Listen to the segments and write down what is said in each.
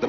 The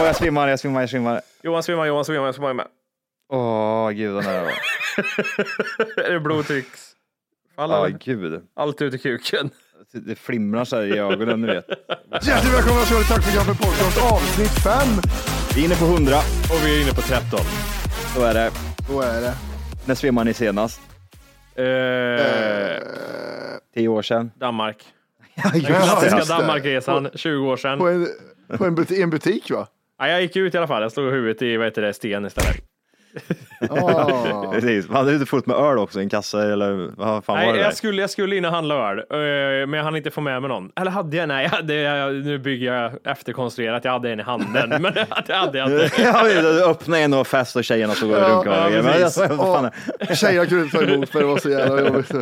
Och jag svimmar, jag svimmar, jag svimmar. Johan svimmar, Johan svimmar, jag svimmar med. Åh, gudarna. är det blodtrycks? Alla, Ja, gud. Allt ut i kuken. Det flimrar så här i ögonen, du vet. Hjärtligt välkomna ska ni vara till Tack för gaffel podcast avsnitt 5. Vi är inne på 100, Och vi är inne på 13. så är det. Så är det. När svimmade ni senast? Eh, Tio år sedan? Danmark. just Klassiska det. Danmarkresan, 20 år sedan. På en, på en, buti- en butik va? Ja, jag gick ut i alla fall. Jag slog huvudet i vad heter det, sten istället. Ja. Precis. Man hade ute fullt med öl också i en kasse, eller vad fan var Nej, det jag där? skulle, jag skulle in och handla öl, eh, men jag hann inte få med mig någon. Eller hade jag? Nej, jag hade, jag, nu bygger jag efterkonstruerat. Jag hade en i handen, men det hade jag inte. Ja, du öppnade en och var fest och tjejerna stod och runkade. varandra. Men ja, precis. jag sa, vad fan är- Tjejerna kunde inte ta emot för det var så jävla jobbigt.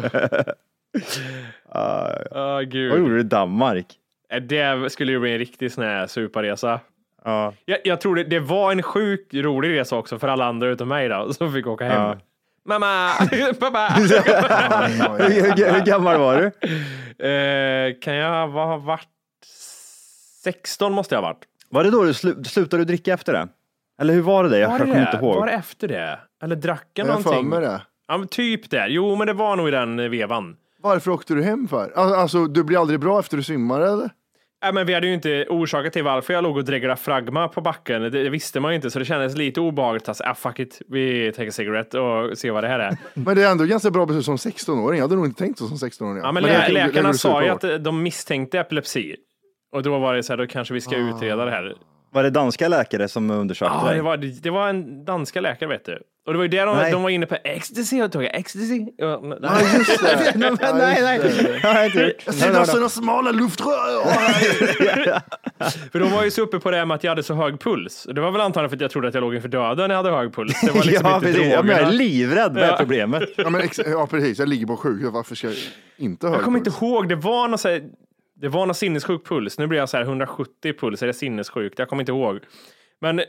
Åh, Vad gud. gjorde du i Danmark? Eh, Det skulle ju bli en riktig sån här superresa. Ja. Jag, jag tror det, det var en sjukt rolig resa också för alla andra utom mig då, som fick åka hem. Ja. Mamma! Pappa! Hur, hur, hur gammal var du? eh, kan jag vad ha varit? 16 måste jag ha varit. Var det då du slu, slutade du dricka efter det? Eller hur var det? Jag, jag det kommer inte det? Var ihåg. det efter det? Eller drack jag Jag har för någonting? mig det. Ja, men typ där. Jo, men det var nog i den eh, vevan. Varför åkte du hem för? Al- Alltså, du blir aldrig bra efter du svimmar eller? Nej, Äh, men vi hade ju inte orsakat till varför jag låg och dreglade fragma på backen. Det, det visste man ju inte, så det kändes lite obehagligt. Alltså, ah, fuck it, vi tar en cigarett och ser vad det här är. Men det är ändå ganska bra beslut som 16-åring. Jag hade nog inte tänkt så som 16-åring. Ja, men det lä är- det är- det är läkarna du sa ju superbra. att eh, de misstänkte epilepsi. Och då var det så här, då kanske vi ska utreda det här. Var det danska läkare som undersökte Ja, dig? det, var, det var en danska läkare, vet du. Och det var ju det de, Ah. Nej. de var inne på, ecstasy, och tog jag ecstasy. Ja, men- Ja, just det. Nej, Ja, nej, nej. just det. Det har jag inte gjort. Jag liksom ser sina smala luftrör. För de var ju så uppe på det här med att jag hade så hög puls. Det var väl antagligen för att jag trodde att jag låg inför döden när jag hade hög puls. Det var liksom ja, inte precis. Jag drogerna. är livrädd med Ja. problemet. Ja, men ex- ja, precis. Jag ligger på sjukhus. Varför ska jag inte ha Jag hög kommer inte puls? ihåg, det var någon så här, det var någon sinnessjuk puls. Nu blir jag så här 170 puls, är det sinnessjukt? Jag kommer inte ihåg. Men eh,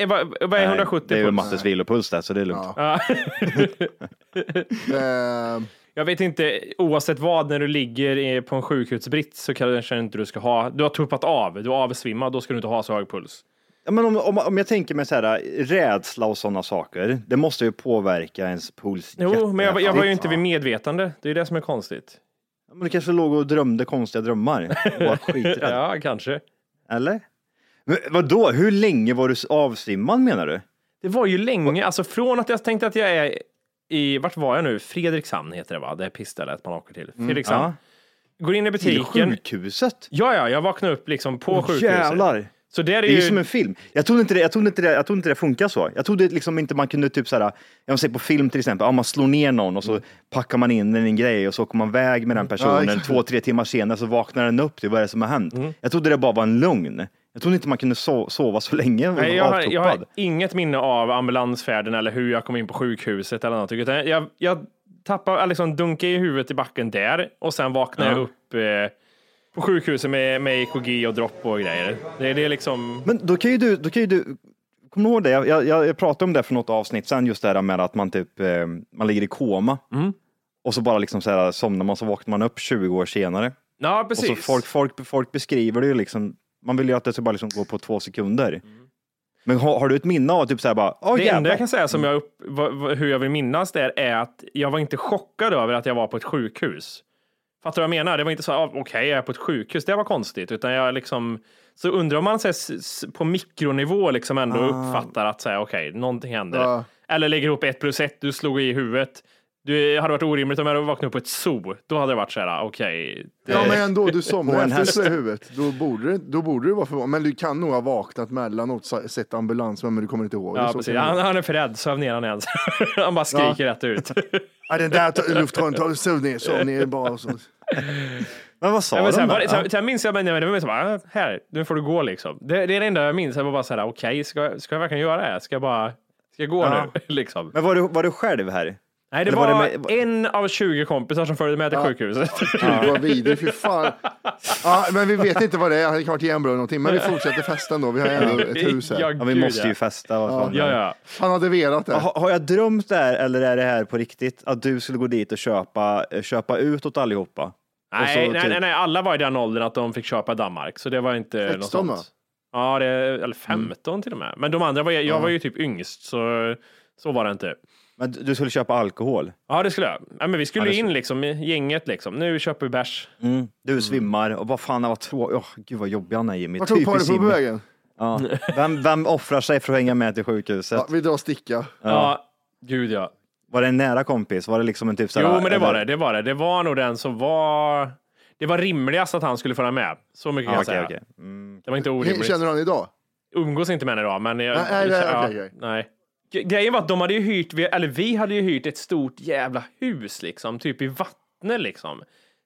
eh, vad, vad är Nej, 170 Det är ju puls? Mattes vilopuls där, så det är lugnt. Ja. Ja. Ehm, Jag vet inte, oavsett vad, när du ligger i- på en sjukhusbrits så kanske inte du ska ha, du har tuppat av, du är avsvimmad, då ska du inte ha så hög puls. Ja, men om, om, om jag tänker mig så här, rädsla och sådana saker, det måste ju påverka ens puls Jo, men jag, var- jag var ju jättehäftigt. inte vid medvetande, det är det som är konstigt. Ja, Men du kanske låg och drömde konstiga drömmar. och var skiträdd. Ja, kanske. Eller? Men vadå, hur länge var du avsvimmad menar du? Det var ju länge, alltså från att jag tänkte att jag är i, vart var jag nu? Fredrikshamn heter det va? Det är pissstället man åker till. Fredrikshamn. Mm, ja. Går in i Till butiken. sjukhuset? Ja, ja, jag vaknade upp liksom på sjukhuset. Så där är, Det är ju som en film. Jag trodde inte det, jag trodde inte det, jag trodde inte det funkar så. Jag trodde liksom inte man kunde typ såhär, jag säger på film till exempel, ja, man slår ner någon och så Mm. packar man in den i en grej och så åker man iväg med den personen Ja, exakt. två, tre timmar senare så vaknar den upp till vad är det som har hänt. Mm. Jag trodde det bara var en lugn. Jag trodde inte man kunde so- sova så länge och Nej, vara jag, har, jag har avtrubbad. inget minne av ambulansfärden eller hur jag kom in på sjukhuset eller något. Utan jag, jag tappar, eller liksom dunkar i huvudet i backen där och sen vaknar jag upp eh, på sjukhuset med, med EKG och dropp och grejer. Det, det är liksom... Men då kan ju du, då kan ju du Kommer du ihåg det? Jag, jag, jag pratade om det för något avsnitt sen, just det här med att man typ, eh, man ligger i koma. Mm. Och så bara liksom så här, somnar man så vaknar man upp 20 år senare. Ja, Och precis. så folk, folk, folk beskriver det ju liksom, man vill ju att det ska bara liksom gå på två sekunder. Men har, har du ett minne av typ så här bara, åh Mm. det enda jävlar. Mm. jag kan säga som jag upp, vad- vad- hur jag vill minnas där är att jag var inte chockad över att jag var på ett sjukhus. Fattar du vad jag menar? Det var inte så, ah, okej, jag är på ett sjukhus, det var konstigt, utan jag liksom, så undrar om man så här, s- s- på mikronivå liksom ändå Ah. uppfattar att säga okej, någonting händer. Ja. Eller lägger ihop ett plus ett, du slog i huvudet. Du hade varit orimligt om jag hade vaknat upp på ett zoo. Då hade det varit så här, ah, okej. det- Ja men ändå, du På somnar en efter häst. så i huvudet. Då borde, det- då borde du vara förvånad. Men du kan nog ha vaknat mellanåt, sa- sett ambulansen men du kommer inte ihåg. det. Ja, Så precis. kan det Han, vara. han är för rädd, söv ner han ens. han bara skriker rätt ut. Ja, den där ta- lufttrollen, ta sov ner, sov ner bara. Och så. Men vad sa Ja, men de sen, där? var, sen, sen minns jag Benjamin, men så bara, "Ah, här, nu får du gå liksom. Det, det är det enda jag minns. Jag var bara så här, okej, ska, ska jag verkligen göra det? här? Ska jag bara, ska jag gå Ja. nu? liksom. Men var du, var du själv här? Nej, det eller var, var det med- en av 20 kompisar som följde med till sjukhuset. Gud vad vidrig, fy fan. Ja, men vi vet inte vad det är, han kan ha varit jämnbröd eller någonting. Men vi fortsätter festen då, vi har ändå ett hus här. Ja, vi gud, måste ju festa. Vad fan. Ja, ja. Han hade velat det. Har, har jag drömt det här eller är det här på riktigt? Att du skulle gå dit och köpa, eh, köpa ut åt allihopa? Och så Nej, nej, typ- nej, nej, alla var i den åldern att de fick köpa Danmark, så det var inte något 16, va? sånt. Ja, det, eller 15 till och med. Men de andra var, jag var ju typ yngst, så så var det inte. Men du du skulle köpa alkohol? Ja, det skulle jag. Ja, men vi skulle Ja, det in liksom, i gänget liksom. Nu köper vi bärs. Du svimmar och vad fan vad tråkigt. Oh, gud vad jobbig han är Mm. Jimmy. Vart tog paret på Jimmy. vägen? Ja. Vem, vem offrar sig för att hänga med till sjukhuset? Ja, vi drar sticka. Ja. gud ja. Var det en nära kompis? Var det liksom en typ såhär, Jo, men det var eller- det. Det var det. Det var nog den som var... Det var rimligast att han skulle följa med. Så mycket kan Ja, jag okej, säga. okej. Mm. Det var inte Hur orimligt. känner du han idag? Umgås inte med henne idag, men... Jag, Nej, nej, nej, ja, okej, okej. nej. Gre- Grejen var att de hade ju hyrt, vi- eller vi hade ju hyrt ett stort jävla hus liksom, typ i vattnet liksom.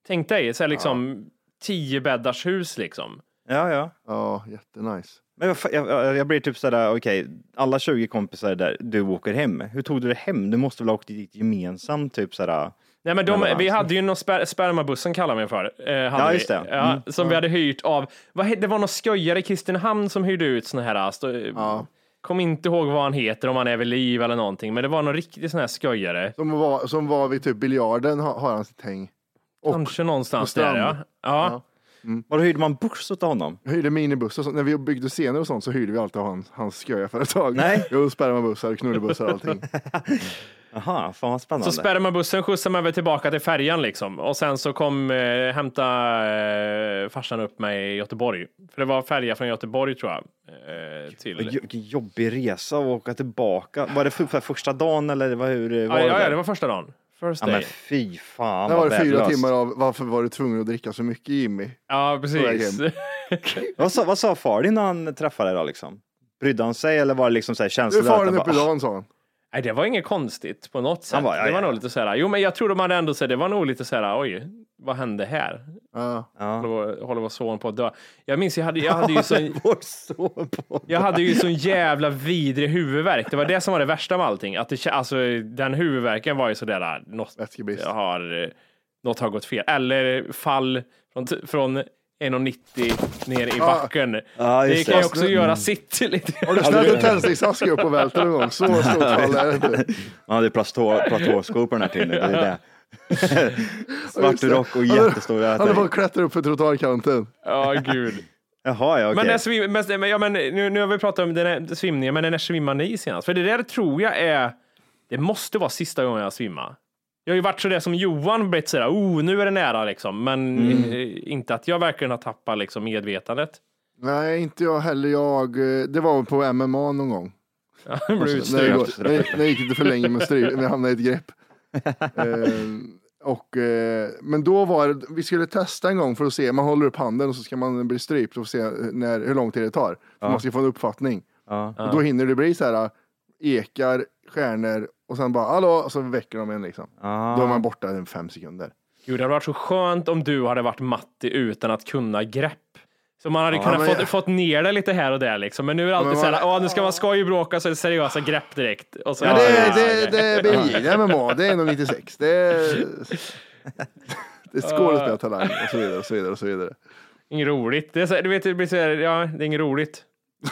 Tänk dig, så här, liksom tio bäddars hus liksom. Ja, ja. Ja, jättenice. Men jag, jag, jag, jag blir typ sådär, okej, alla 20 kompisar där, du åker hem. Hur tog du det hem? Du måste väl ha åkt dit gemensamt, typ sådär. Nej, men de, Men vad vi hemskt. hade ju någon sper, spermabussen kallar man ju för. Eh, hade Ja, vi. just det. Ja, Mm. som vi hade hyrt av, vad, he- det var någon sköjare i Kristinehamn som hyrde ut såna här, stå, Ja. kom inte ihåg vad han heter, om han är vid liv eller någonting, men det var någon riktig sån här sköjare. Som var, som var vid typ biljarden har, har han sitt häng. Kanske någonstans på där strand. ja. ja. Var hyrde man buss åt honom? Hyrde minibussar och sånt. När vi byggde scener och sånt så hyrde vi alltid av hans, hans sköja företag. Nej. Jo, spermabussar, knullebussar och allting. Aha, fan vad Så spännande. spermabussen skjutsade mig väl tillbaka till färjan liksom och sen så kom, eh, hämta eh, farsan upp mig i Göteborg. För det var färja från Göteborg tror jag. Eh, till... Vilken jobbig resa att åka tillbaka. Var det för, för första dagen eller vad, hur var Ja, ja, det? ja, det var första dagen. First ja, day. men fy fan Där vad var det fyra värdelöst. timmar av varför var du tvungen att dricka så mycket Jimmy? Ja, precis. Vad sa, vad sa far din när han träffade dig då liksom? Brydde han sig eller var det liksom såhär Du är känslan? att faren han uppe i bara, dagen sa han. Nej, det var inget konstigt på något sätt. Han bara, ja, det var ja. nog lite så här. Jo, men jag tror de hade ändå så här, det var nog lite så här. Oj, vad hände här? Ja. "Ah, Håller, håller vår son på att dö? Jag minns, jag hade, jag hade ju sån, Vår son på jag hade ju sån jävla vidrig huvudvärk. Det var det som var det värsta med allting. Att det, kä- alltså, den huvudvärken var ju sådär, ah, något Vätskebrist. har, eh, något har gått fel. Eller fall från, t- från 1,90 ner i backen. Ja, det just kan det. Mm. ju också göra sitt lite. Har du snällt en tändsticksask upp och välter någon gång? Så stort fall är det inte. Han hade platå- platåskor på den här tiden. Det är det. Svart rock och jättestora Han bara tänder. klättrar upp för trottoarkanten. Ja, gud. Jaha, ja, okej. Men, när svim, men, men- ja, men nu, nu har vi pratat om den här svimningen, men när svimmade ni senast? För det där tror jag är, det måste vara sista gången jag svimmar. Jag har ju varit så där som Johan blivit sådär, oh, nu är det nära liksom, men Mm. eh, inte att jag verkligen har tappat liksom medvetandet. Nej, inte jag heller. Jag, eh, det var på MMA någon gång. Jag blev När utstött. jag, går- när jag- när jag gick lite för länge med stryk, när jag hamnade i ett grepp. Ehm, och, eh, men då var det, vi skulle testa en gång för att se, man håller upp handen och så ska man bli strypt och se när, eh, hur lång tid det tar. För Man ska få en uppfattning. Ja. Och då hinner det bli så här eh, ekar, stjärnor och sen bara hallå, och så väcker de en liksom. Ah. Då är man borta i fem sekunder. Gud, det hade varit så skönt om du hade varit Matti utan att kunna grepp. Så man hade kunnat men fått, jag- fått ner det lite här och där liksom. Men nu är det alltid men så man- här, "Åh, nu ska man skojbråka så är det seriösa grepp direkt. Och så, Ja, det, Ja, det, det, det är BJ, MMA, det är nog 96. Det är, det är skådespelartalang och så vidare och så vidare och så vidare. Inget roligt. Det är så, här- du vet, det blir så här, ja, det är inget roligt.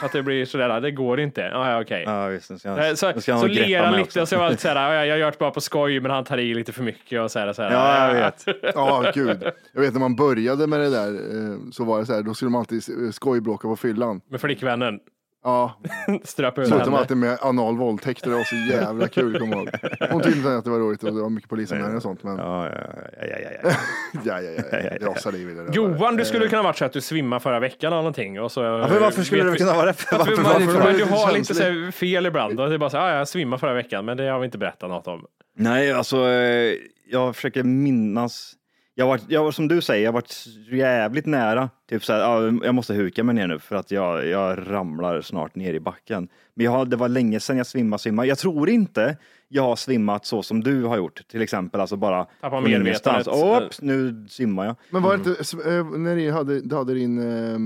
Att det blir sådär, det går inte. Ja, ja, okej. Ja, visst. Nu ska Eh, jag, Så, nu ska jag så nog greppa ler han mig lite också. och så var det så här, "Ja, jag gör det bara på skoj men han tar i lite för mycket och så här. Så här. Ja, jag vet. Ja, gud. Jag vet när man började med det där eh, så var det så här, då skulle man alltid eh, skojbråka på fyllan. Med flickvännen. Ja, Ströp ur slutade man henne. alltid med anal våldtäkt och det var så jävla kul, kommer jag ihåg. Hon tyckte inte att det var roligt och det var mycket polisanmälningar och sånt, men ja, Ja, ja, ja, ja, ja, ja. ja, ja, det rasade i vid det där. Johan, du skulle kunna varit så att du svimmade förra veckan eller någonting. Och så, Eh. Ja, men varför skulle vet det vi- kunna vara det? Varför, Varför, varför, varför- men du har varför- lite så här fel ibland. Och det är bara så här, "Ah, jag svimmade förra veckan, men det har vi inte berättat något om. Nej, alltså eh, jag försöker minnas. Jag var, jag var som du säger, jag var jävligt nära. Typ så här, ja, jag måste huka mig ner nu för att jag, jag ramlar snart ner i backen. Men jag, har- det var länge sedan jag svimmade, svimmade. Jag tror inte jag har svimmat så som du har gjort, till exempel. Alltså bara Tappar från medvetandet. ingenstans. Oops, nu svimmar jag. Men var det inte, s- eh, när du hade, du hade din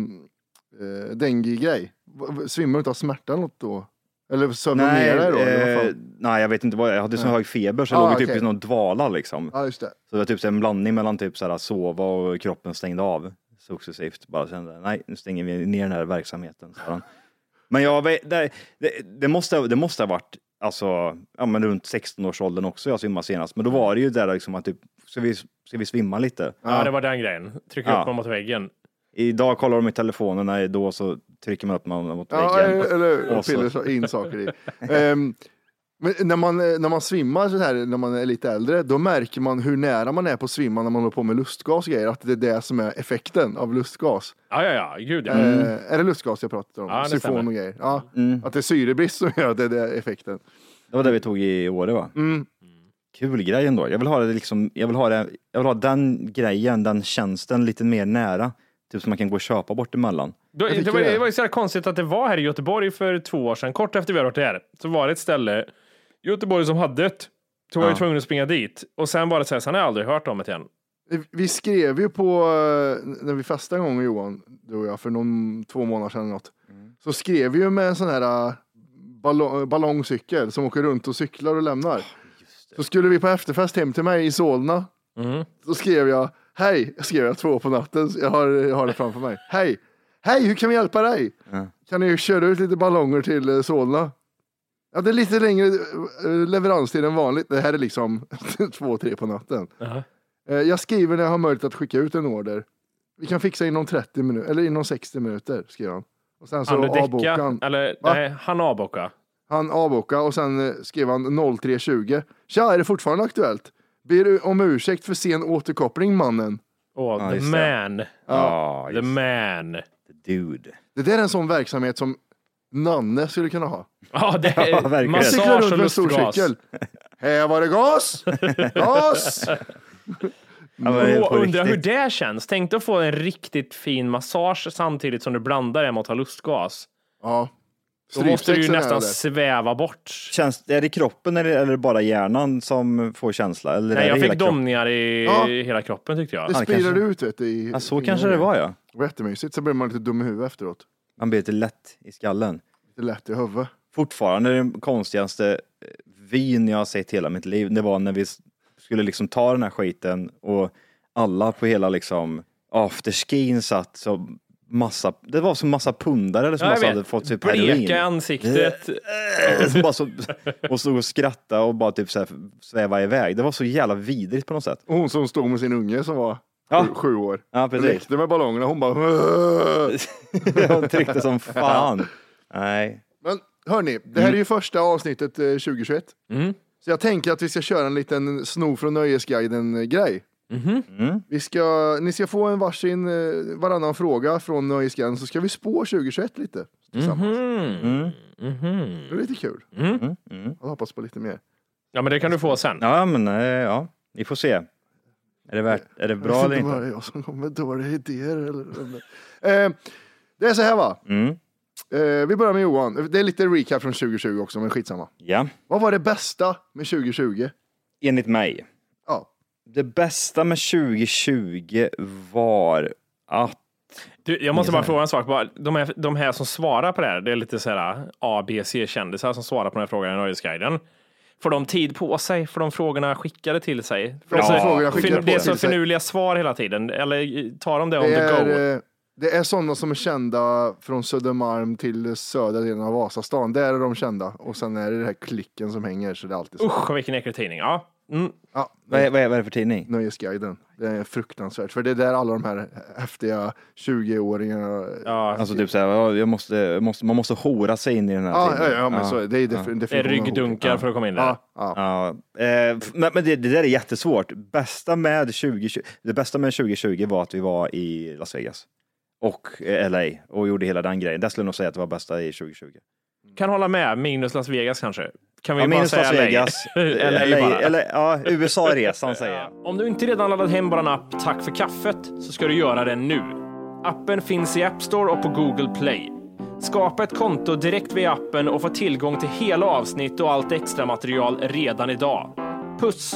eh, eh, dengue-grej, v- svimmade du inte av smärta något då? Eller sövde du ner dig då? eller vad eh, fan? nej, jag vet inte vad jag hade så hög feber så Ah, jag låg i typ okej. i någon dvala liksom. Ja, just det. Så det var typ så här en blandning mellan typ så här att sova och kroppen stängde av successivt. Bara kände, nej, nu stänger vi ner den här verksamheten. sa han. Men jag vet, det, det, det, måste, det måste ha varit alltså, ja, men runt 16-årsåldern också jag svimmade senast. Men då var det ju där liksom att typ, ska vi, ska vi svimma lite? Ja, det var den grejen. Trycka Ja. upp mig mot väggen. Idag kollar de i telefonen, nej, då så trycker man upp man mot Ja, väggen. eller hur? Och Och så- piller så in saker i. Ehm, men när man, eh, när man svimmar så här, när man är lite äldre, då märker man hur nära man är på att svimma när man håller på med lustgas och grejer, att det är det som är effekten av lustgas. Ja, ja, ja, gud ja. Mm. Eh, är det lustgas jag pratar om? Mm. Ja, det Syfon stämmer. Mm. och grejer. Ja, Att det är syrebrist som gör att det är det effekten. Det var det vi tog i Åre va? Kul grej ändå. Jag vill ha det liksom, jag vill ha det, jag vill ha den grejen, den tjänsten lite mer nära. Typ som man kan gå och köpa bort emellan. Då, tycker det, var, det. det var ju så här konstigt att det var här i Göteborg för två år sedan, kort efter vi hade varit här, så var det ett ställe i Göteborg som hade det. Så var jag Ja. tvungen att springa dit. Och sen var det så här, sen har jag aldrig hört om det igen. Vi skrev ju på, eh, när vi festade en gång Johan, du och jag, för någon, två månader sedan eller något. Mm. Så skrev vi ju med en sån här eh, ballong, ballongcykel som åker runt och cyklar och lämnar. Så skulle vi på efterfest hem till mig i Solna. Då skrev jag, hej, skrev jag två på natten, så jag har, jag har det framför mig. Hej, hej, hur kan vi hjälpa dig? Kan ni köra ut lite ballonger till eh, Solna? Ja, det är lite längre eh, leveranstid än vanligt. Det här är liksom två, tre på natten. Eh, Jag skriver när jag har möjlighet att skicka ut en order. Vi kan fixa inom 30 minuter, eller inom 60 minuter, skriver han. Och sen Han så avbokade däcka, han. eller Va? nej, han avbockade. Han avbokade och sen eh, skrev han 03.20. Tja, är det fortfarande aktuellt? Ber u- om ursäkt för sen återkoppling, mannen. Åh, the just det. man. Ja, The Ah, just man. det. dude. Det där är en sån verksamhet som Nanne skulle kunna ha. Ja, det Ja, är verkligen. Cykla massage runt och med en stor lustgas. cykel. Här var det gas! Gas! Ja, men det är på Och undrar hur riktigt. det känns. Tänk dig att få en riktigt fin massage samtidigt som du blandar det med att ha lustgas. Ja. Då måste du ju Strypsexen är nästan det. sväva bort. Känns, är det kroppen eller, eller bara hjärnan som får känsla? Eller är Nej, det hela jag fick kroppen? domningar i Ja. hela kroppen tyckte jag. Det Ja, det spirar kanske- ut vet du. i- Ja, så fingrarna. kanske det var ja. Det var jättemysigt, sen blir man lite dum i huvudet efteråt. Man blir lite lätt i skallen. Lite lätt i huvudet. Fortfarande det konstigaste eh, vin jag har sett hela mitt liv, det var när vi s- skulle liksom ta den här skiten och alla på hela liksom afterskin satt så massa, det var som massa pundare eller som Ja, jag massa vet. hade fått typ Bleka i heroin. ansiktet. Som bara så, och stod och skrattade och bara typ så här sväva iväg. Det var så jävla vidrigt på något sätt. Och Hon som stod med sin unge som var Ja. sju, sju år. Ja, precis. Lekte med ballongerna, hon bara... Hon tryckte som fan. Nej. Men hörni, det här är ju första avsnittet eh, 2021. Så jag tänker att vi ska köra en liten sno från Nöjesguiden-grej. Vi ska, ni ska få en varsin, eh, varannan fråga från Nöjesguiden, så ska vi spå 2021 lite tillsammans. Det är lite kul. Mm. Jag hoppas på lite mer. Ja, men det kan du få sen. Ja, men eh, ja, vi får se. Är det, värt, är det bra eller bara inte? det är jag som kommer med dåliga idéer. Eller, eller. Eh, det är så här va. Eh, vi börjar med Johan. Det är lite recap från 2020 också, men skitsamma. Ja, Vad var det bästa med 2020? enligt mig. Ja, Det bästa med 2020 var att Du, jag måste bara fråga en sak. Bara, De här, de här som svarar på det här, det är lite så här A, B, C-kändisar som svarar på den här frågan i Nöjesguiden. Får de tid på sig? Får de frågorna skickade till sig? Får Ja, de så här- frågorna fin- skickade det är till så sig. finurliga svar hela tiden. Eller eh, tar de det on det the go? är, eh, det är sådana som är kända från Södermalm till södra delen av Vasastan. Där är de kända. Och sen är det den här klicken som hänger, så det är alltid så. Usch, vilken äcklig tidning. Ja. Mm. Ja, Vad är, vad, är, vad är det för tidning? Nöjesguiden. Det är fruktansvärt, för det är där alla de här häftiga 20-åringarna... Ja, Ja. Alltså typ såhär, ja, jag måste, jag måste, man måste hora sig in i den här ja, ja, tidningen. men så är det. Det är def- det är definitionen av hot. ryggdunkar för att komma in där. Ja, ja. Ja, eh, f- men, men det, det där är jättesvårt. Bästa med 2020, det bästa med 2020 var att vi var i Las Vegas och eh, LA och gjorde hela den grejen. Det skulle jag nog säga att det var bästa i 2020. Kan hålla med, minus Las Vegas kanske. Kan vi Ja, bara minus säga Las LA? Vegas. LA bara. eller, ja, USA-resan säger jag. Om du inte redan laddat hem vår app Tack för kaffet så ska du göra det nu. Appen finns i App Store och på Google Play. Skapa ett konto direkt via appen och få tillgång till hela avsnitt och allt extra material redan idag. Puss!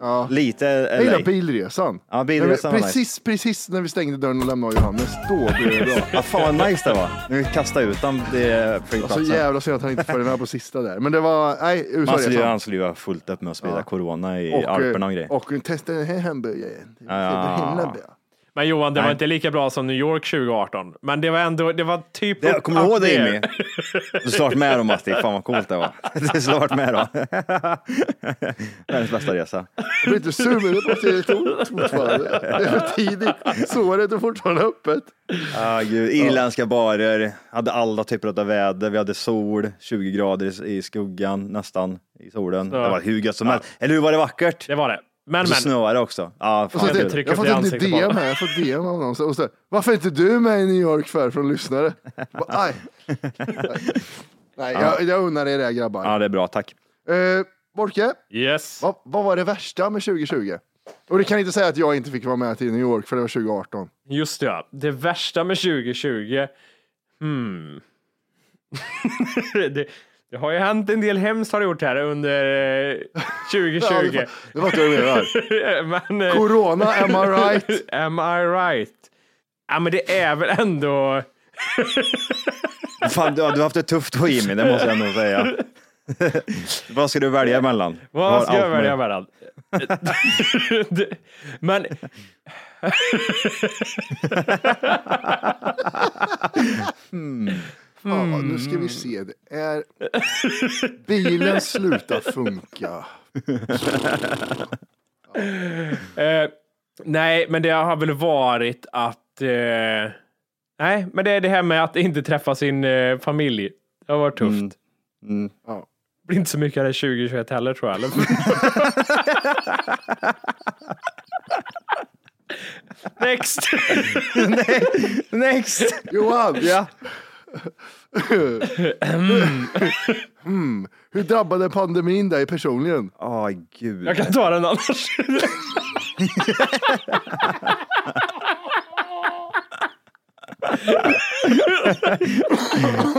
ja. Lite Jag gillar LA. bilresan. Ja, bilresan När vi, var precis, precis när vi stängde dörren och lämnade Johannes, då blev det bra. Ja, fan vad nice det var. Nu kastar jag ut dem det Så flygplatsen. Alltså, jävla synd att han inte följde med på sista där. Men det var, nej, Man skulle ju- USA-resan. Han skulle ju ha fullt upp med att sprida Ja. corona i Alperna och grejer. alltså. och testa den här hamburgaren. Ja. Den här hamburgaren. Men Johan, det var Nej. inte lika bra som New York 2018. Men det var ändå, det var typ... Det, upp- kommer du ihåg det upp ner. Jimmy? Du slår vart med då Matti, fan vad coolt det var. Du slår vart med då. Världens bästa resa. Jag blir inte sur, men det måste jag tomt fortfarande. Det är för tidigt. Såret är fortfarande öppet. Ah, gud. Irländska barer, hade alla typer av väder, vi hade sol, 20 grader i- i skuggan nästan, i solen. Det var hur gött som helst. Eller hur var det vackert? Det var det. Men Så men, snöade det också. Ja, Och så typ fan, inte jag, kul. trycka jag har upp det fått i ett ansiktet på DM honom. här, jag har fått DM av någon. Och så, varför är inte du med i New York för från lyssnare? Jag bara, Aj. Nej, jag, jag unnar er det här, grabbar. ja, det är bra, tack. Eh, Borke, yes. vad, vad var det värsta med 2020? Och du kan inte säga att jag inte fick vara med till New York för det var 2018. Just det, ja. Det värsta med 2020. Hmm. det, det har ju hänt en del hemskt har det gjort här under eh, 2020. Det var inte vad jag menar. men, eh, Corona, am I right? am I right? Ja, men det är väl ändå... Fan, du, har- du har haft det tufft på Jimmy, det måste jag nog säga. Vad ska du välja mellan? Du har Vad ska allt jag välja med- mellan? Det- men... Ja, nu ska Mm. vi se. Det är... Bilen slutar funka. Eh, nej, men det har väl varit att... Eh, nej, men det är det här med att inte träffa sin eh, familj. Det har varit tufft. Ja. Det blir inte så mycket av det 2021 heller tror jag. Eller? Next! Next! Johan, Ja. Mm. hur drabbade pandemin dig personligen? Åh, gud. Jag kan ta den annars.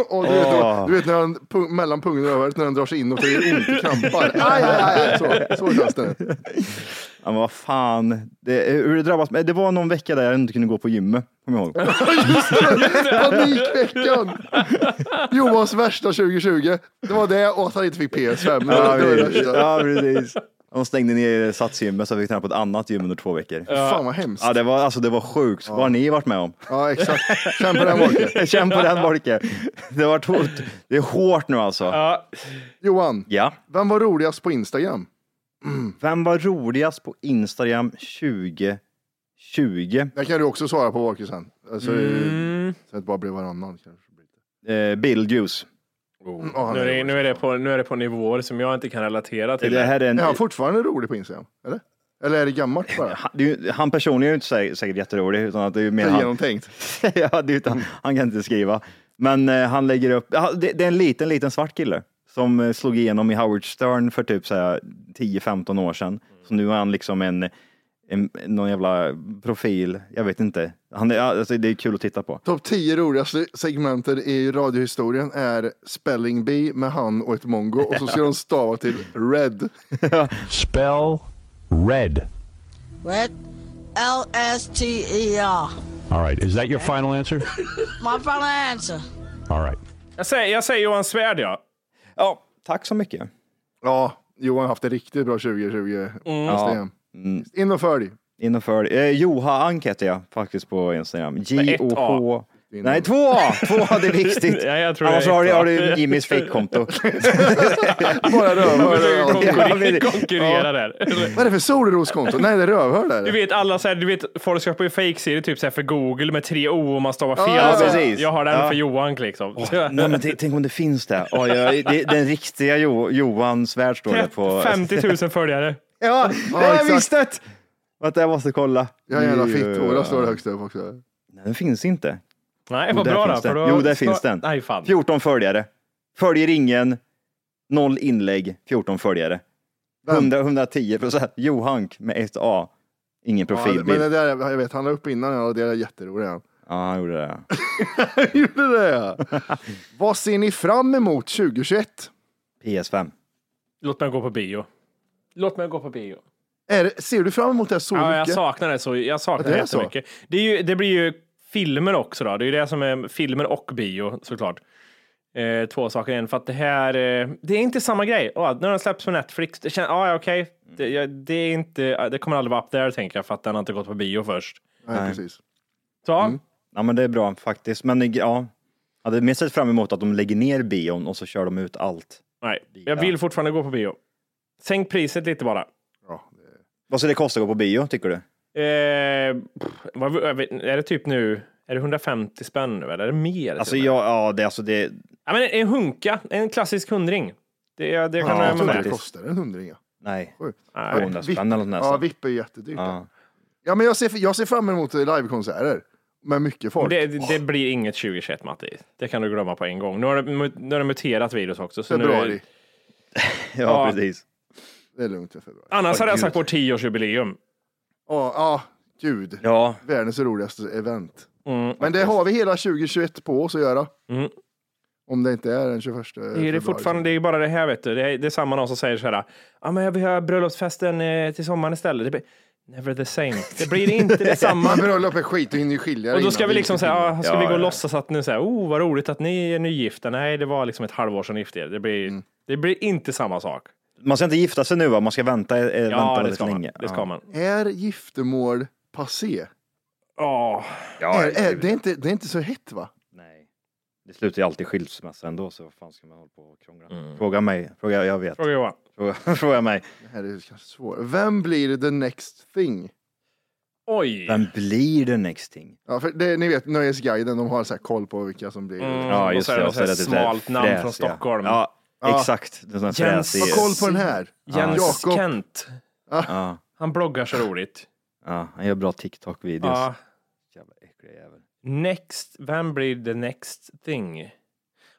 Och du, vet, då, Ah. du vet när han, pung, mellan pungen och örat, när han drar sig inåt och det gör ont och krampar. Aj, aj, aj, aj. Så, så känns det. Ja, men vad fan. Det, hur det drabbas mig. Det var någon vecka där jag inte kunde gå på gymmet, kommer jag ihåg. Panikveckan! Johans värsta 2020. Det var det och att han inte fick PS5. Det var det värsta. ja, precis. De stängde ner satsgymmet så jag fick träna på ett annat gym under två veckor. Fan vad hemskt. Ja, det var, alltså, det var sjukt. Vad har ni varit med om? Ja, exakt. Känn på den Volker. Känn på den Volke. Det, har varit hårt. det är hårt nu alltså. Ja, Johan, Ja. vem var roligast på Instagram? Vem var roligast på Instagram 2020? Det kan du också svara på Walker sen. Alltså, Mm. Så att det bara blir varannan kanske. Eh, Billjuice. Oh, nu, är det, nu, är det på, nu är det på nivåer som jag inte kan relatera till. Det här är en, Är han fortfarande rolig på Instagram? Eller? Eller är det gammalt bara? han, det är ju- han personligen är ju inte sä- säkert jätterolig, utan att det är mer Det är han, genomtänkt. ja, det är utan, han kan inte skriva. Men eh, han lägger upp, ja, det, det är en liten, liten svart kille som eh, slog igenom i Howard Stern för typ så här 10-15 år sedan. Så nu är han liksom en, en, någon jävla profil, jag vet inte. Han, är- alltså, det är kul att titta på. Topp 10 roligaste segmenten i radiohistorien är Spelling Bee med han och ett mongo och så ska de stava till Red. Spell red. Red. L S T E R. All right. Is that your final answer? My final answer. All right. Jag, säger, jag säger Johan Svärd, ja. Ja, tack så mycket. Ja, Johan har haft det riktigt bra 2020. Mm. Instagram. Mm. In och följ. In och för. Eh, Joha Ank heter jag faktiskt på Instagram. J-O-H... Nej, två A! Två A, det är viktigt. Nej, jag tror det Annars är har du, ett A. har du Jimmys fickkonto. Bara rövhör. Försöker överallt. Ja, men konkurrera, det- konkurrera där. Vad är det för solroskonto? Nej, det är rövhör Du där. vet, alla så här, du vet, folk skapar ju fejkserier typ så här för Google med tre O om man stavar fel. Ja, Så precis. Jag har den Ja. för Johan liksom. Så- Nej, men t- tänk om det finns det. Oj, oj, det den riktiga jo, Johan Svärd står det på. 50 000 följare. Ja, det har exakt. jag visst det! Vänta, jag måste kolla. Jag är jävla Jo, fitthåra ja. står det högst upp också. Nej, den finns inte. Nej, Jo, vad där bra finns då. för den. då- Jo, där finns den. Nej, fan. 14 följare. Följer ingen. Noll inlägg. 14 följare. 100, 110 procent. Johank med ett A. Ingen Ja, men profilbild. det Ja, där, jag vet, han la upp innan och det är jätteroligt. han. han gjorde det. Gjorde det? Vad ser ni fram emot 2021? PS5. Låt mig gå på bio. Låt mig gå på bio. Är, det- ser du fram emot det här så Ja, jag mycket? saknar det så jag saknar Ja, det det är så. jättemycket. Det, är ju, det blir ju filmer också då. Det är ju det som är filmer och bio såklart. Eh, två saker igen, för att det här, eh, det är inte samma grej. Åh, nu har den släppts på Netflix. Det känns, ah, ja, okej. Det, jag- det är inte, det kommer aldrig vara upp där tänker jag, för att den har inte gått på bio först. Nej, precis. Så, ja. Mm. Ja, men det är bra faktiskt. Men det- ja, jag hade mer sett fram emot att de lägger ner bion och så kör de ut allt. nej, jag vill fortfarande gå på bio. Sänk priset lite bara. Vad ska det kosta att gå på bio, tycker du? Eh, pff, vad, jag vet- är det typ nu, är det 150 spänn nu eller är det mer? Alltså, till och med? jag, ja, det, alltså det, ja, men en hunka, en klassisk hundring. Det, det kan Ja, jag jag tror med. inte det faktiskt. kostar en hundring. ja. nej, Sjukt. 200 VIP- spänn eller något Ja, nästan. VIP är jättedyrt. Ja. Ja. men jag, ser, jag ser fram emot livekonserter med mycket folk. Det, det det blir inget 2021 Matti. Det kan du glömma på en gång. Nu har det, mu- nu har det muterat virus också. Så nu är, februari. Ja, Ja. precis. Det är lugnt i februari. annars hade jag gud. sagt vårt 10-årsjubileum. Ja, ja, gud. Ja, Världens roligaste event. Mm. Men det har vi hela 2021 på oss att göra. Mm. Om det inte är den 21 Det är, det, februari. fortfarande, det är bara det här vet du. Det är, det är samma någon som säger så här. Ja, men jag vill ha bröllopsfesten eh, till sommaren istället. Det blir, Never the same. Det blir inte detsamma. Man bröllop är skit, du hinner ju skilja Och dig då ska innan. vi liksom säga, ah, ska Ja, vi gå och ja. låtsas att nu säga, oh vad roligt att ni är nygifta. Nej, det var liksom ett halvår sedan ni gifte er. Det blir, Mm. det blir inte samma sak. man ska inte gifta sig nu va? Man ska vänta, eh, Ja, vänta det väldigt ska man. länge. Det ska man. Är giftermål passé? Ja, Ja, är, är, gud. det, är inte, det är inte så hett va? Nej. Det slutar ju alltid i skilsmässa ändå, så vad fan ska man hålla på och krångla? Fråga mig, fråga, jag vet. Mm. fråga Johan. Fråga, fråga mig. Det här är kanske svårt. Vem blir the next thing? Oj. Vem blir the next thing? Ja, för det, ni vet Nöjesguiden, de har så här koll på vilka som blir. Mm, och så är det och så här typ smalt där namn fräs, från ja. Stockholm. Ja, Ja. exakt. Det är sån här Jens- fräsig- Ha koll på den här. Jens Jakob. Kent. Ja, Han bloggar så roligt. ja, han gör bra TikTok-videos. Ja. Jävla äckliga jävel. Next, vem blir the next thing?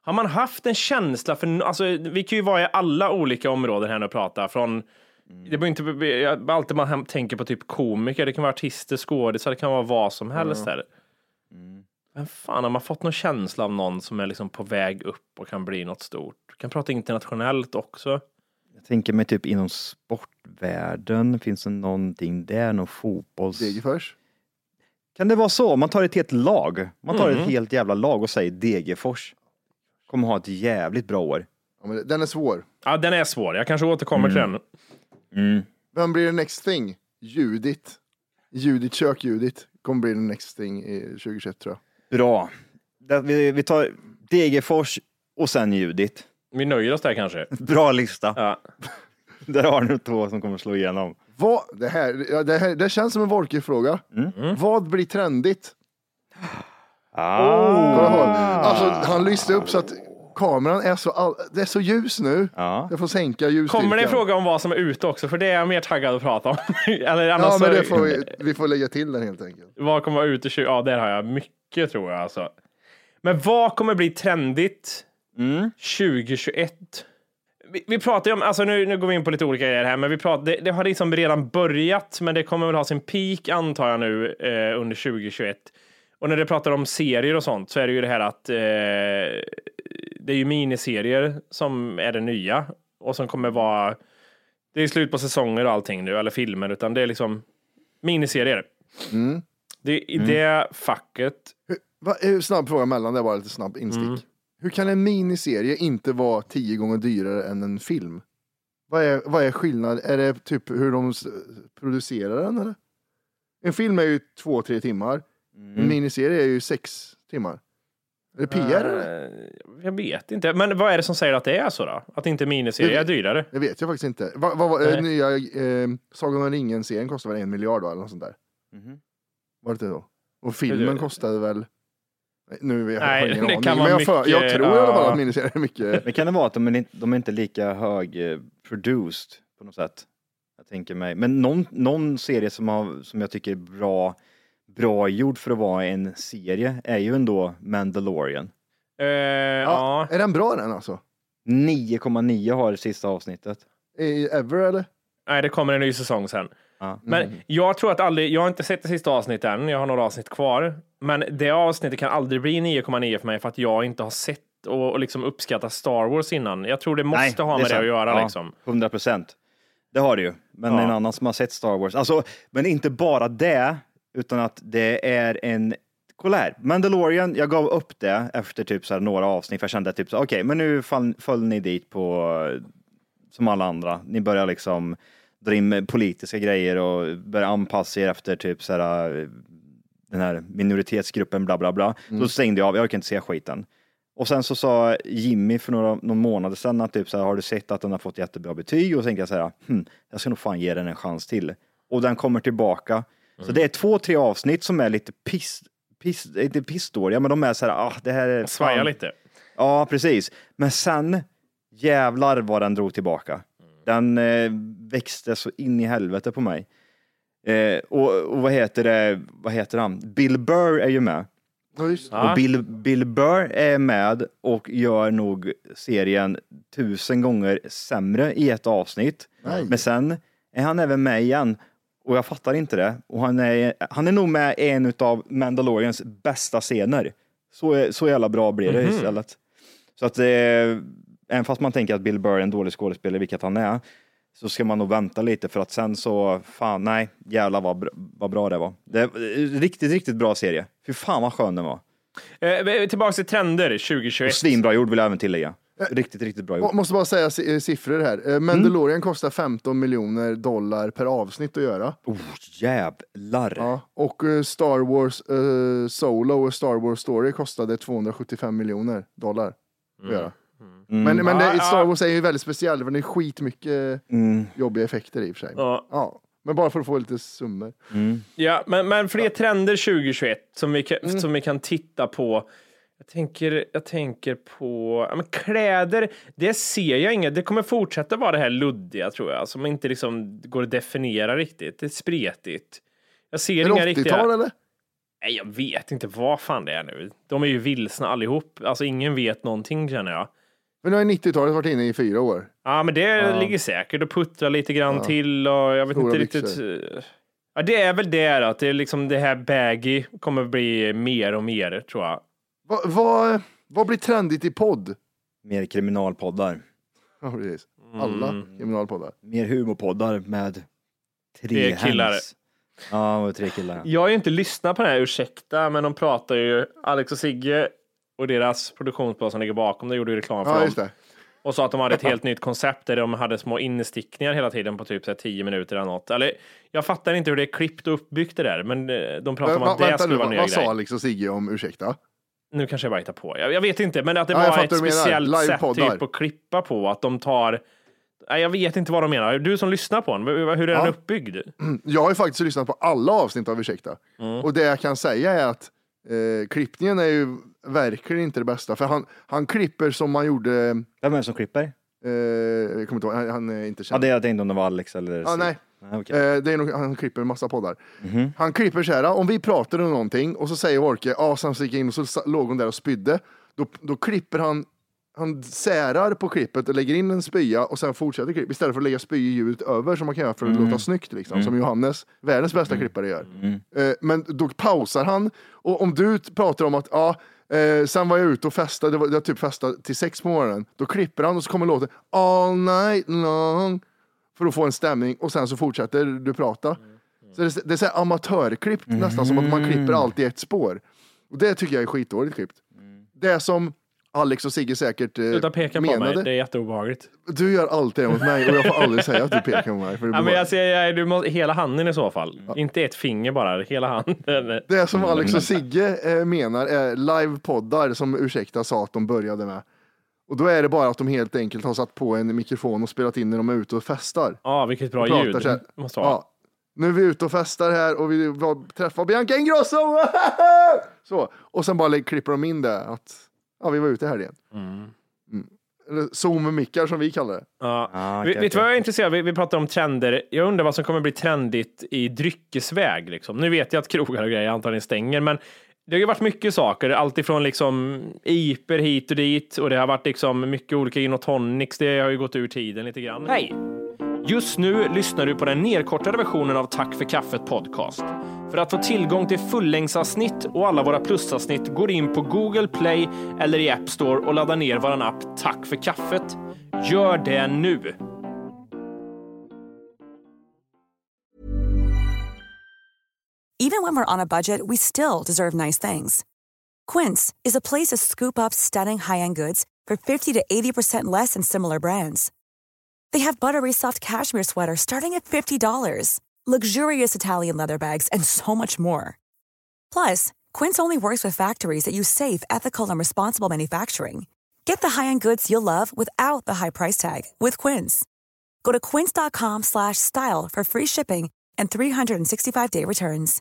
Har man haft en känsla för, no- alltså vi kan ju vara i alla olika områden här nu och prata från, det behöver inte, be- jag- alltid man hem- tänker på typ komiker, det kan vara artister, skådisar, det kan vara vad som helst där. Men fan, har man fått någon känsla av någon som är liksom på väg upp och kan bli något stort? Vi kan prata internationellt också. Jag tänker mig typ inom sportvärlden, finns det någonting där? Någon fotbolls... Degerfors? Kan det vara så? Man tar ett helt lag. Man tar Mhm. Mm. ett helt jävla lag och säger Degerfors. Kommer ha ett jävligt bra år. den är svår. Ja, den är svår. Jag kanske återkommer till den. Vem blir the next thing? Judit. Judit kök Judit kommer bli the next thing i 2021 tror jag. Bra. Det- Vi vi tar Degerfors och sen Judit. Vi nöjer oss där kanske. Bra lista. Ja. Där har ni två som kommer slå igenom. Vad, det, här, ja, det här det känns som en Wolke-fråga. Mm. Vad blir trendigt? Ah. Ah. Kolla på. Alltså, han lyste upp så att kameran är så, all... det är så ljus nu. Jag får sänka ljusstyrkan. Kommer det en fråga om vad som är ute också? För det är jag mer taggad att prata om. Eller annars Ja, men så- det får vi, vi får lägga till den helt enkelt. Vad kommer vara ute i 20? Ja, där har jag mycket tror jag alltså. Men vad kommer bli trendigt 2021? Vi, vi pratar ju om, alltså nu, nu går vi in på lite olika grejer här, men vi pratar, det, det har liksom redan börjat, men det kommer väl ha sin peak antar jag nu eh, under 2021. Och när det pratar om serier och sånt så är det ju det här att eh, det är ju miniserier som är det nya och som kommer vara, det är slut på säsonger och allting nu, eller filmer, utan det är liksom miniserier. Mm. Det är i det facket. Hur, va, hur, snabb fråga mellan, det var lite snabb instick. Mm. Hur kan en miniserie inte vara tio gånger dyrare än en film? Vad är, vad är skillnaden? Är det typ hur de s- producerar den eller? En film är ju två, tre timmar. Mm. Mm. En miniserie är ju sex timmar. Är det PR eller? Eh, Jag vet inte. Men vad är det som säger att det är så då? Att inte miniserier är dyrare? Det vet jag faktiskt inte. Va, va, va, eh, Nej. nya eh, Sagan om ringen-serien kostade väl en miljard va, eller något sånt där? Mhm. Var det inte då? Och Det- filmen kostade väl? Nej, Nu jag har Nej, jag ingen det aning. kan Men vara jag, för, jag mycket, tror i alla fall ja. att miniserier är mycket. Men kan det vara att de är, inte- de är inte lika hög eh, produced på något sätt? Jag tänker mig. Men någon, någon serie som, har, som jag tycker är bra, bra gjord för att vara en serie är ju ändå Mandalorian. Eh, ja. Är den bra den alltså? 9,9 har det sista avsnittet. I- Ever eller? Nej, det kommer en ny säsong sen. Ja. Men jag tror att aldrig, jag har inte sett det sista avsnittet än, jag har några avsnitt kvar. Men det avsnittet kan aldrig bli 9,9 för mig för att jag inte har sett och, och liksom uppskattat Star Wars innan. Jag tror det måste ha med det, sant. att göra Ja, liksom. 100 procent. Det har det ju. Men Ja. en annan som har sett Star Wars. Alltså, men inte bara det, utan att det är en... Kolla här, Mandalorian, jag gav upp det efter typ så här några avsnitt, för jag kände typ så här, okej, men nu fall, föll ni dit på, eh, som alla andra, ni börjar liksom dra in med politiska grejer och börja anpassa er efter typ så här, eh, den här minoritetsgruppen, bla bla bla. Mm. Så stängde jag av, jag orkar inte se skiten. Och sen så sa Jimmy för några någon månader sedan att typ så här, har du sett att den har fått jättebra betyg? Och så tänkte jag så här, hm, jag ska nog fan ge den en chans till. Och den kommer tillbaka. Så det är två, tre avsnitt som är lite piss, piss inte pissdåliga, men de är så här, ah, det här är... Svaja fan." lite. Ja, precis. Men sen, jävlar vad den drog tillbaka. Den eh, växte så in i helvete på mig. Eh, och, och vad heter det, vad heter han? Bill Burr är ju med. Och Bill, Bill Burr är med och gör nog serien tusen gånger sämre i ett avsnitt. Nej. Men sen är han även med igen och jag fattar inte det. Och han är, han är nog med i en av Mandalorians bästa scener. Så, är- så jävla bra blir det Mhm. istället. Så att eh, även fast man tänker att Bill Burr är en dålig skådespelare, vilket han är, så ska man nog vänta lite för att sen så, fan nej, jävlar vad, br- vad bra det var. Det är eh, riktigt, riktigt bra serie. Fy fan vad skön den var. Eh, tillbaka till trender 2021. Och svinbra gjord vill jag även tillägga. Riktigt, riktigt bra Må- gjord. Måste bara säga si- eh, siffror här. Eh, Mandalorian kostar 15 miljoner dollar per avsnitt att göra. Oh, jävlar. Ja, och eh, Star Wars eh, Solo och Star Wars Story kostade 275 miljoner dollar att göra. Men, men Mm. Ja, det, ja. Star Wars är ju väldigt speciell för det är skitmycket Mm. jobbiga effekter i och för sig. Ja. Ja, men bara för att få lite summor. Ja, men, men fler trender 2021 som vi, kan, som vi kan titta på. Jag tänker, jag tänker på ja, men kläder. Det ser jag inget. Det kommer fortsätta vara det här luddiga tror jag, som inte liksom går att definiera riktigt. Det är spretigt. Jag ser Är inga det 80-tal riktiga. eller? Nej, jag vet inte vad fan det är nu. De är ju vilsna allihop. Alltså, ingen vet någonting känner jag. Men nu har ju 90-talet varit inne i fyra år. Ja, men det Ja. ligger säkert och puttrar lite grann Ja. till och jag vet Stora inte riktigt. byxor. eh, Ja, det är väl det då, att det är liksom det här baggy kommer bli mer och mer tror jag. Vad, vad, vad blir trendigt i podd? Mer kriminalpoddar. Ja, precis. alla Mm. kriminalpoddar. Mer humorpoddar med tre, Tre killar. hands. Ja, och tre killar. Jag har ju inte lyssnat på den här, ursäkta, men de pratar ju, Alex och Sigge och deras produktionsbolag som ligger bakom det gjorde ju reklam för Ja, dem. just det. Och sa att de hade ett helt nytt koncept där de hade små instickningar hela tiden på typ så här 10 minuter eller något. Eller, jag fattar inte hur det är klippt och uppbyggt det där, men eh, de pratar om Va- att det vänta skulle nu, vara vad, en ny vad grej. sa Alex och Sigge om ursäkta? Nu kanske jag bara hittar på. Jag, jag vet inte, men att det Ja, jag var fattar ett vad du menar. speciellt sätt Livepoddar. typ att klippa på, att de tar... Nej, jag vet inte vad de menar. Du som lyssnar på den, hur hur är den Ja. uppbyggd? Jag har ju faktiskt lyssnat på alla avsnitt av Ursäkta. Mm. Och det jag kan säga är att eh, klippningen är ju verkligen inte det bästa. För han, han klipper som man gjorde... Vem är det som klipper? Eh, jag kommer inte ihåg, han, han är inte Ja, känd. det jag tänkte om det var Alex eller... Ja, nej. okej. Eh, det är nog, han klipper en massa poddar. Han klipper så här, "Ah, om vi pratar om någonting och så säger Wolke, ja, sen så gick jag in och så sa- låg hon där och spydde. Då, då klipper han, han särar på klippet och lägger in en spya och sen fortsätter klipp istället för att lägga spyljudet över som man kan göra för att låta snyggt liksom, som Johannes, världens bästa klippare gör. Eh, men då pausar han och om du t- pratar om att, ja, Eh, sen var jag ute och festade, det var, jag typ festade till sex på morgonen. Då klipper han och så kommer låten All night long för att få en stämning och sen så fortsätter du prata. Mm, Så det, det är så här amatörklippt nästan som att man klipper allt i ett spår. Och det tycker jag är skitdåligt klippt. Det som Alex och Sigge säkert eh, Mm. Sluta peka på mig, menade. det är jätteobehagligt. Du gör alltid det mot mig och jag får aldrig säga att du pekar på mig. För det, Ja, blir men jag säger, jag- du måste, hela handen i så fall. Inte ett finger bara, hela handen. bara- det som Alex och Sigge eh, menar är livepoddar som ursäkta sa att de började med. Och då är det bara att de helt enkelt har satt på en mikrofon och spelat in när de är ute och festar. Ja, vilket bra och pratar ljud. så här. Måste ha. Ja. Nu är vi ute och festar här och vi var- träffar Bianca Ingrosso! Så. Och sen bara lä- klipper de in det att ja, vi var ute här igen. Mm. Eller Zoom-mickar som vi kallar det. Ja. Ah, Vi- okej, Vet du okej. vad jag är intresserad av? Vi, vi pratar om trender. Jag undrar vad som kommer bli trendigt i dryckesväg. Liksom. Nu vet jag att krogar och grejer antagligen stänger, men det har ju varit mycket saker, alltifrån liksom iper hit och dit och det har varit liksom mycket olika gin och tonics. Det har ju gått ur tiden lite grann. Hej! Just nu lyssnar du på den nedkortade versionen av Tack för kaffet podcast. För att få tillgång till fullängdsavsnitt och alla våra plusavsnitt går in på Google Play eller i App Store och laddar ner vår app Tack för kaffet. Gör det nu! Even when we're on a budget, we still deserve nice things. Quince is a place to scoop up stunning high end goods for 50 to 80% less than similar brands. They have buttery soft cashmere sweaters starting at $50, luxurious Italian leather bags, and so much more. Plus, Quince only works with factories that use safe, ethical, and responsible manufacturing. Get the high-end goods you'll love without the high price tag with Quince. Go to quince.com slash style for free shipping and 365-day returns.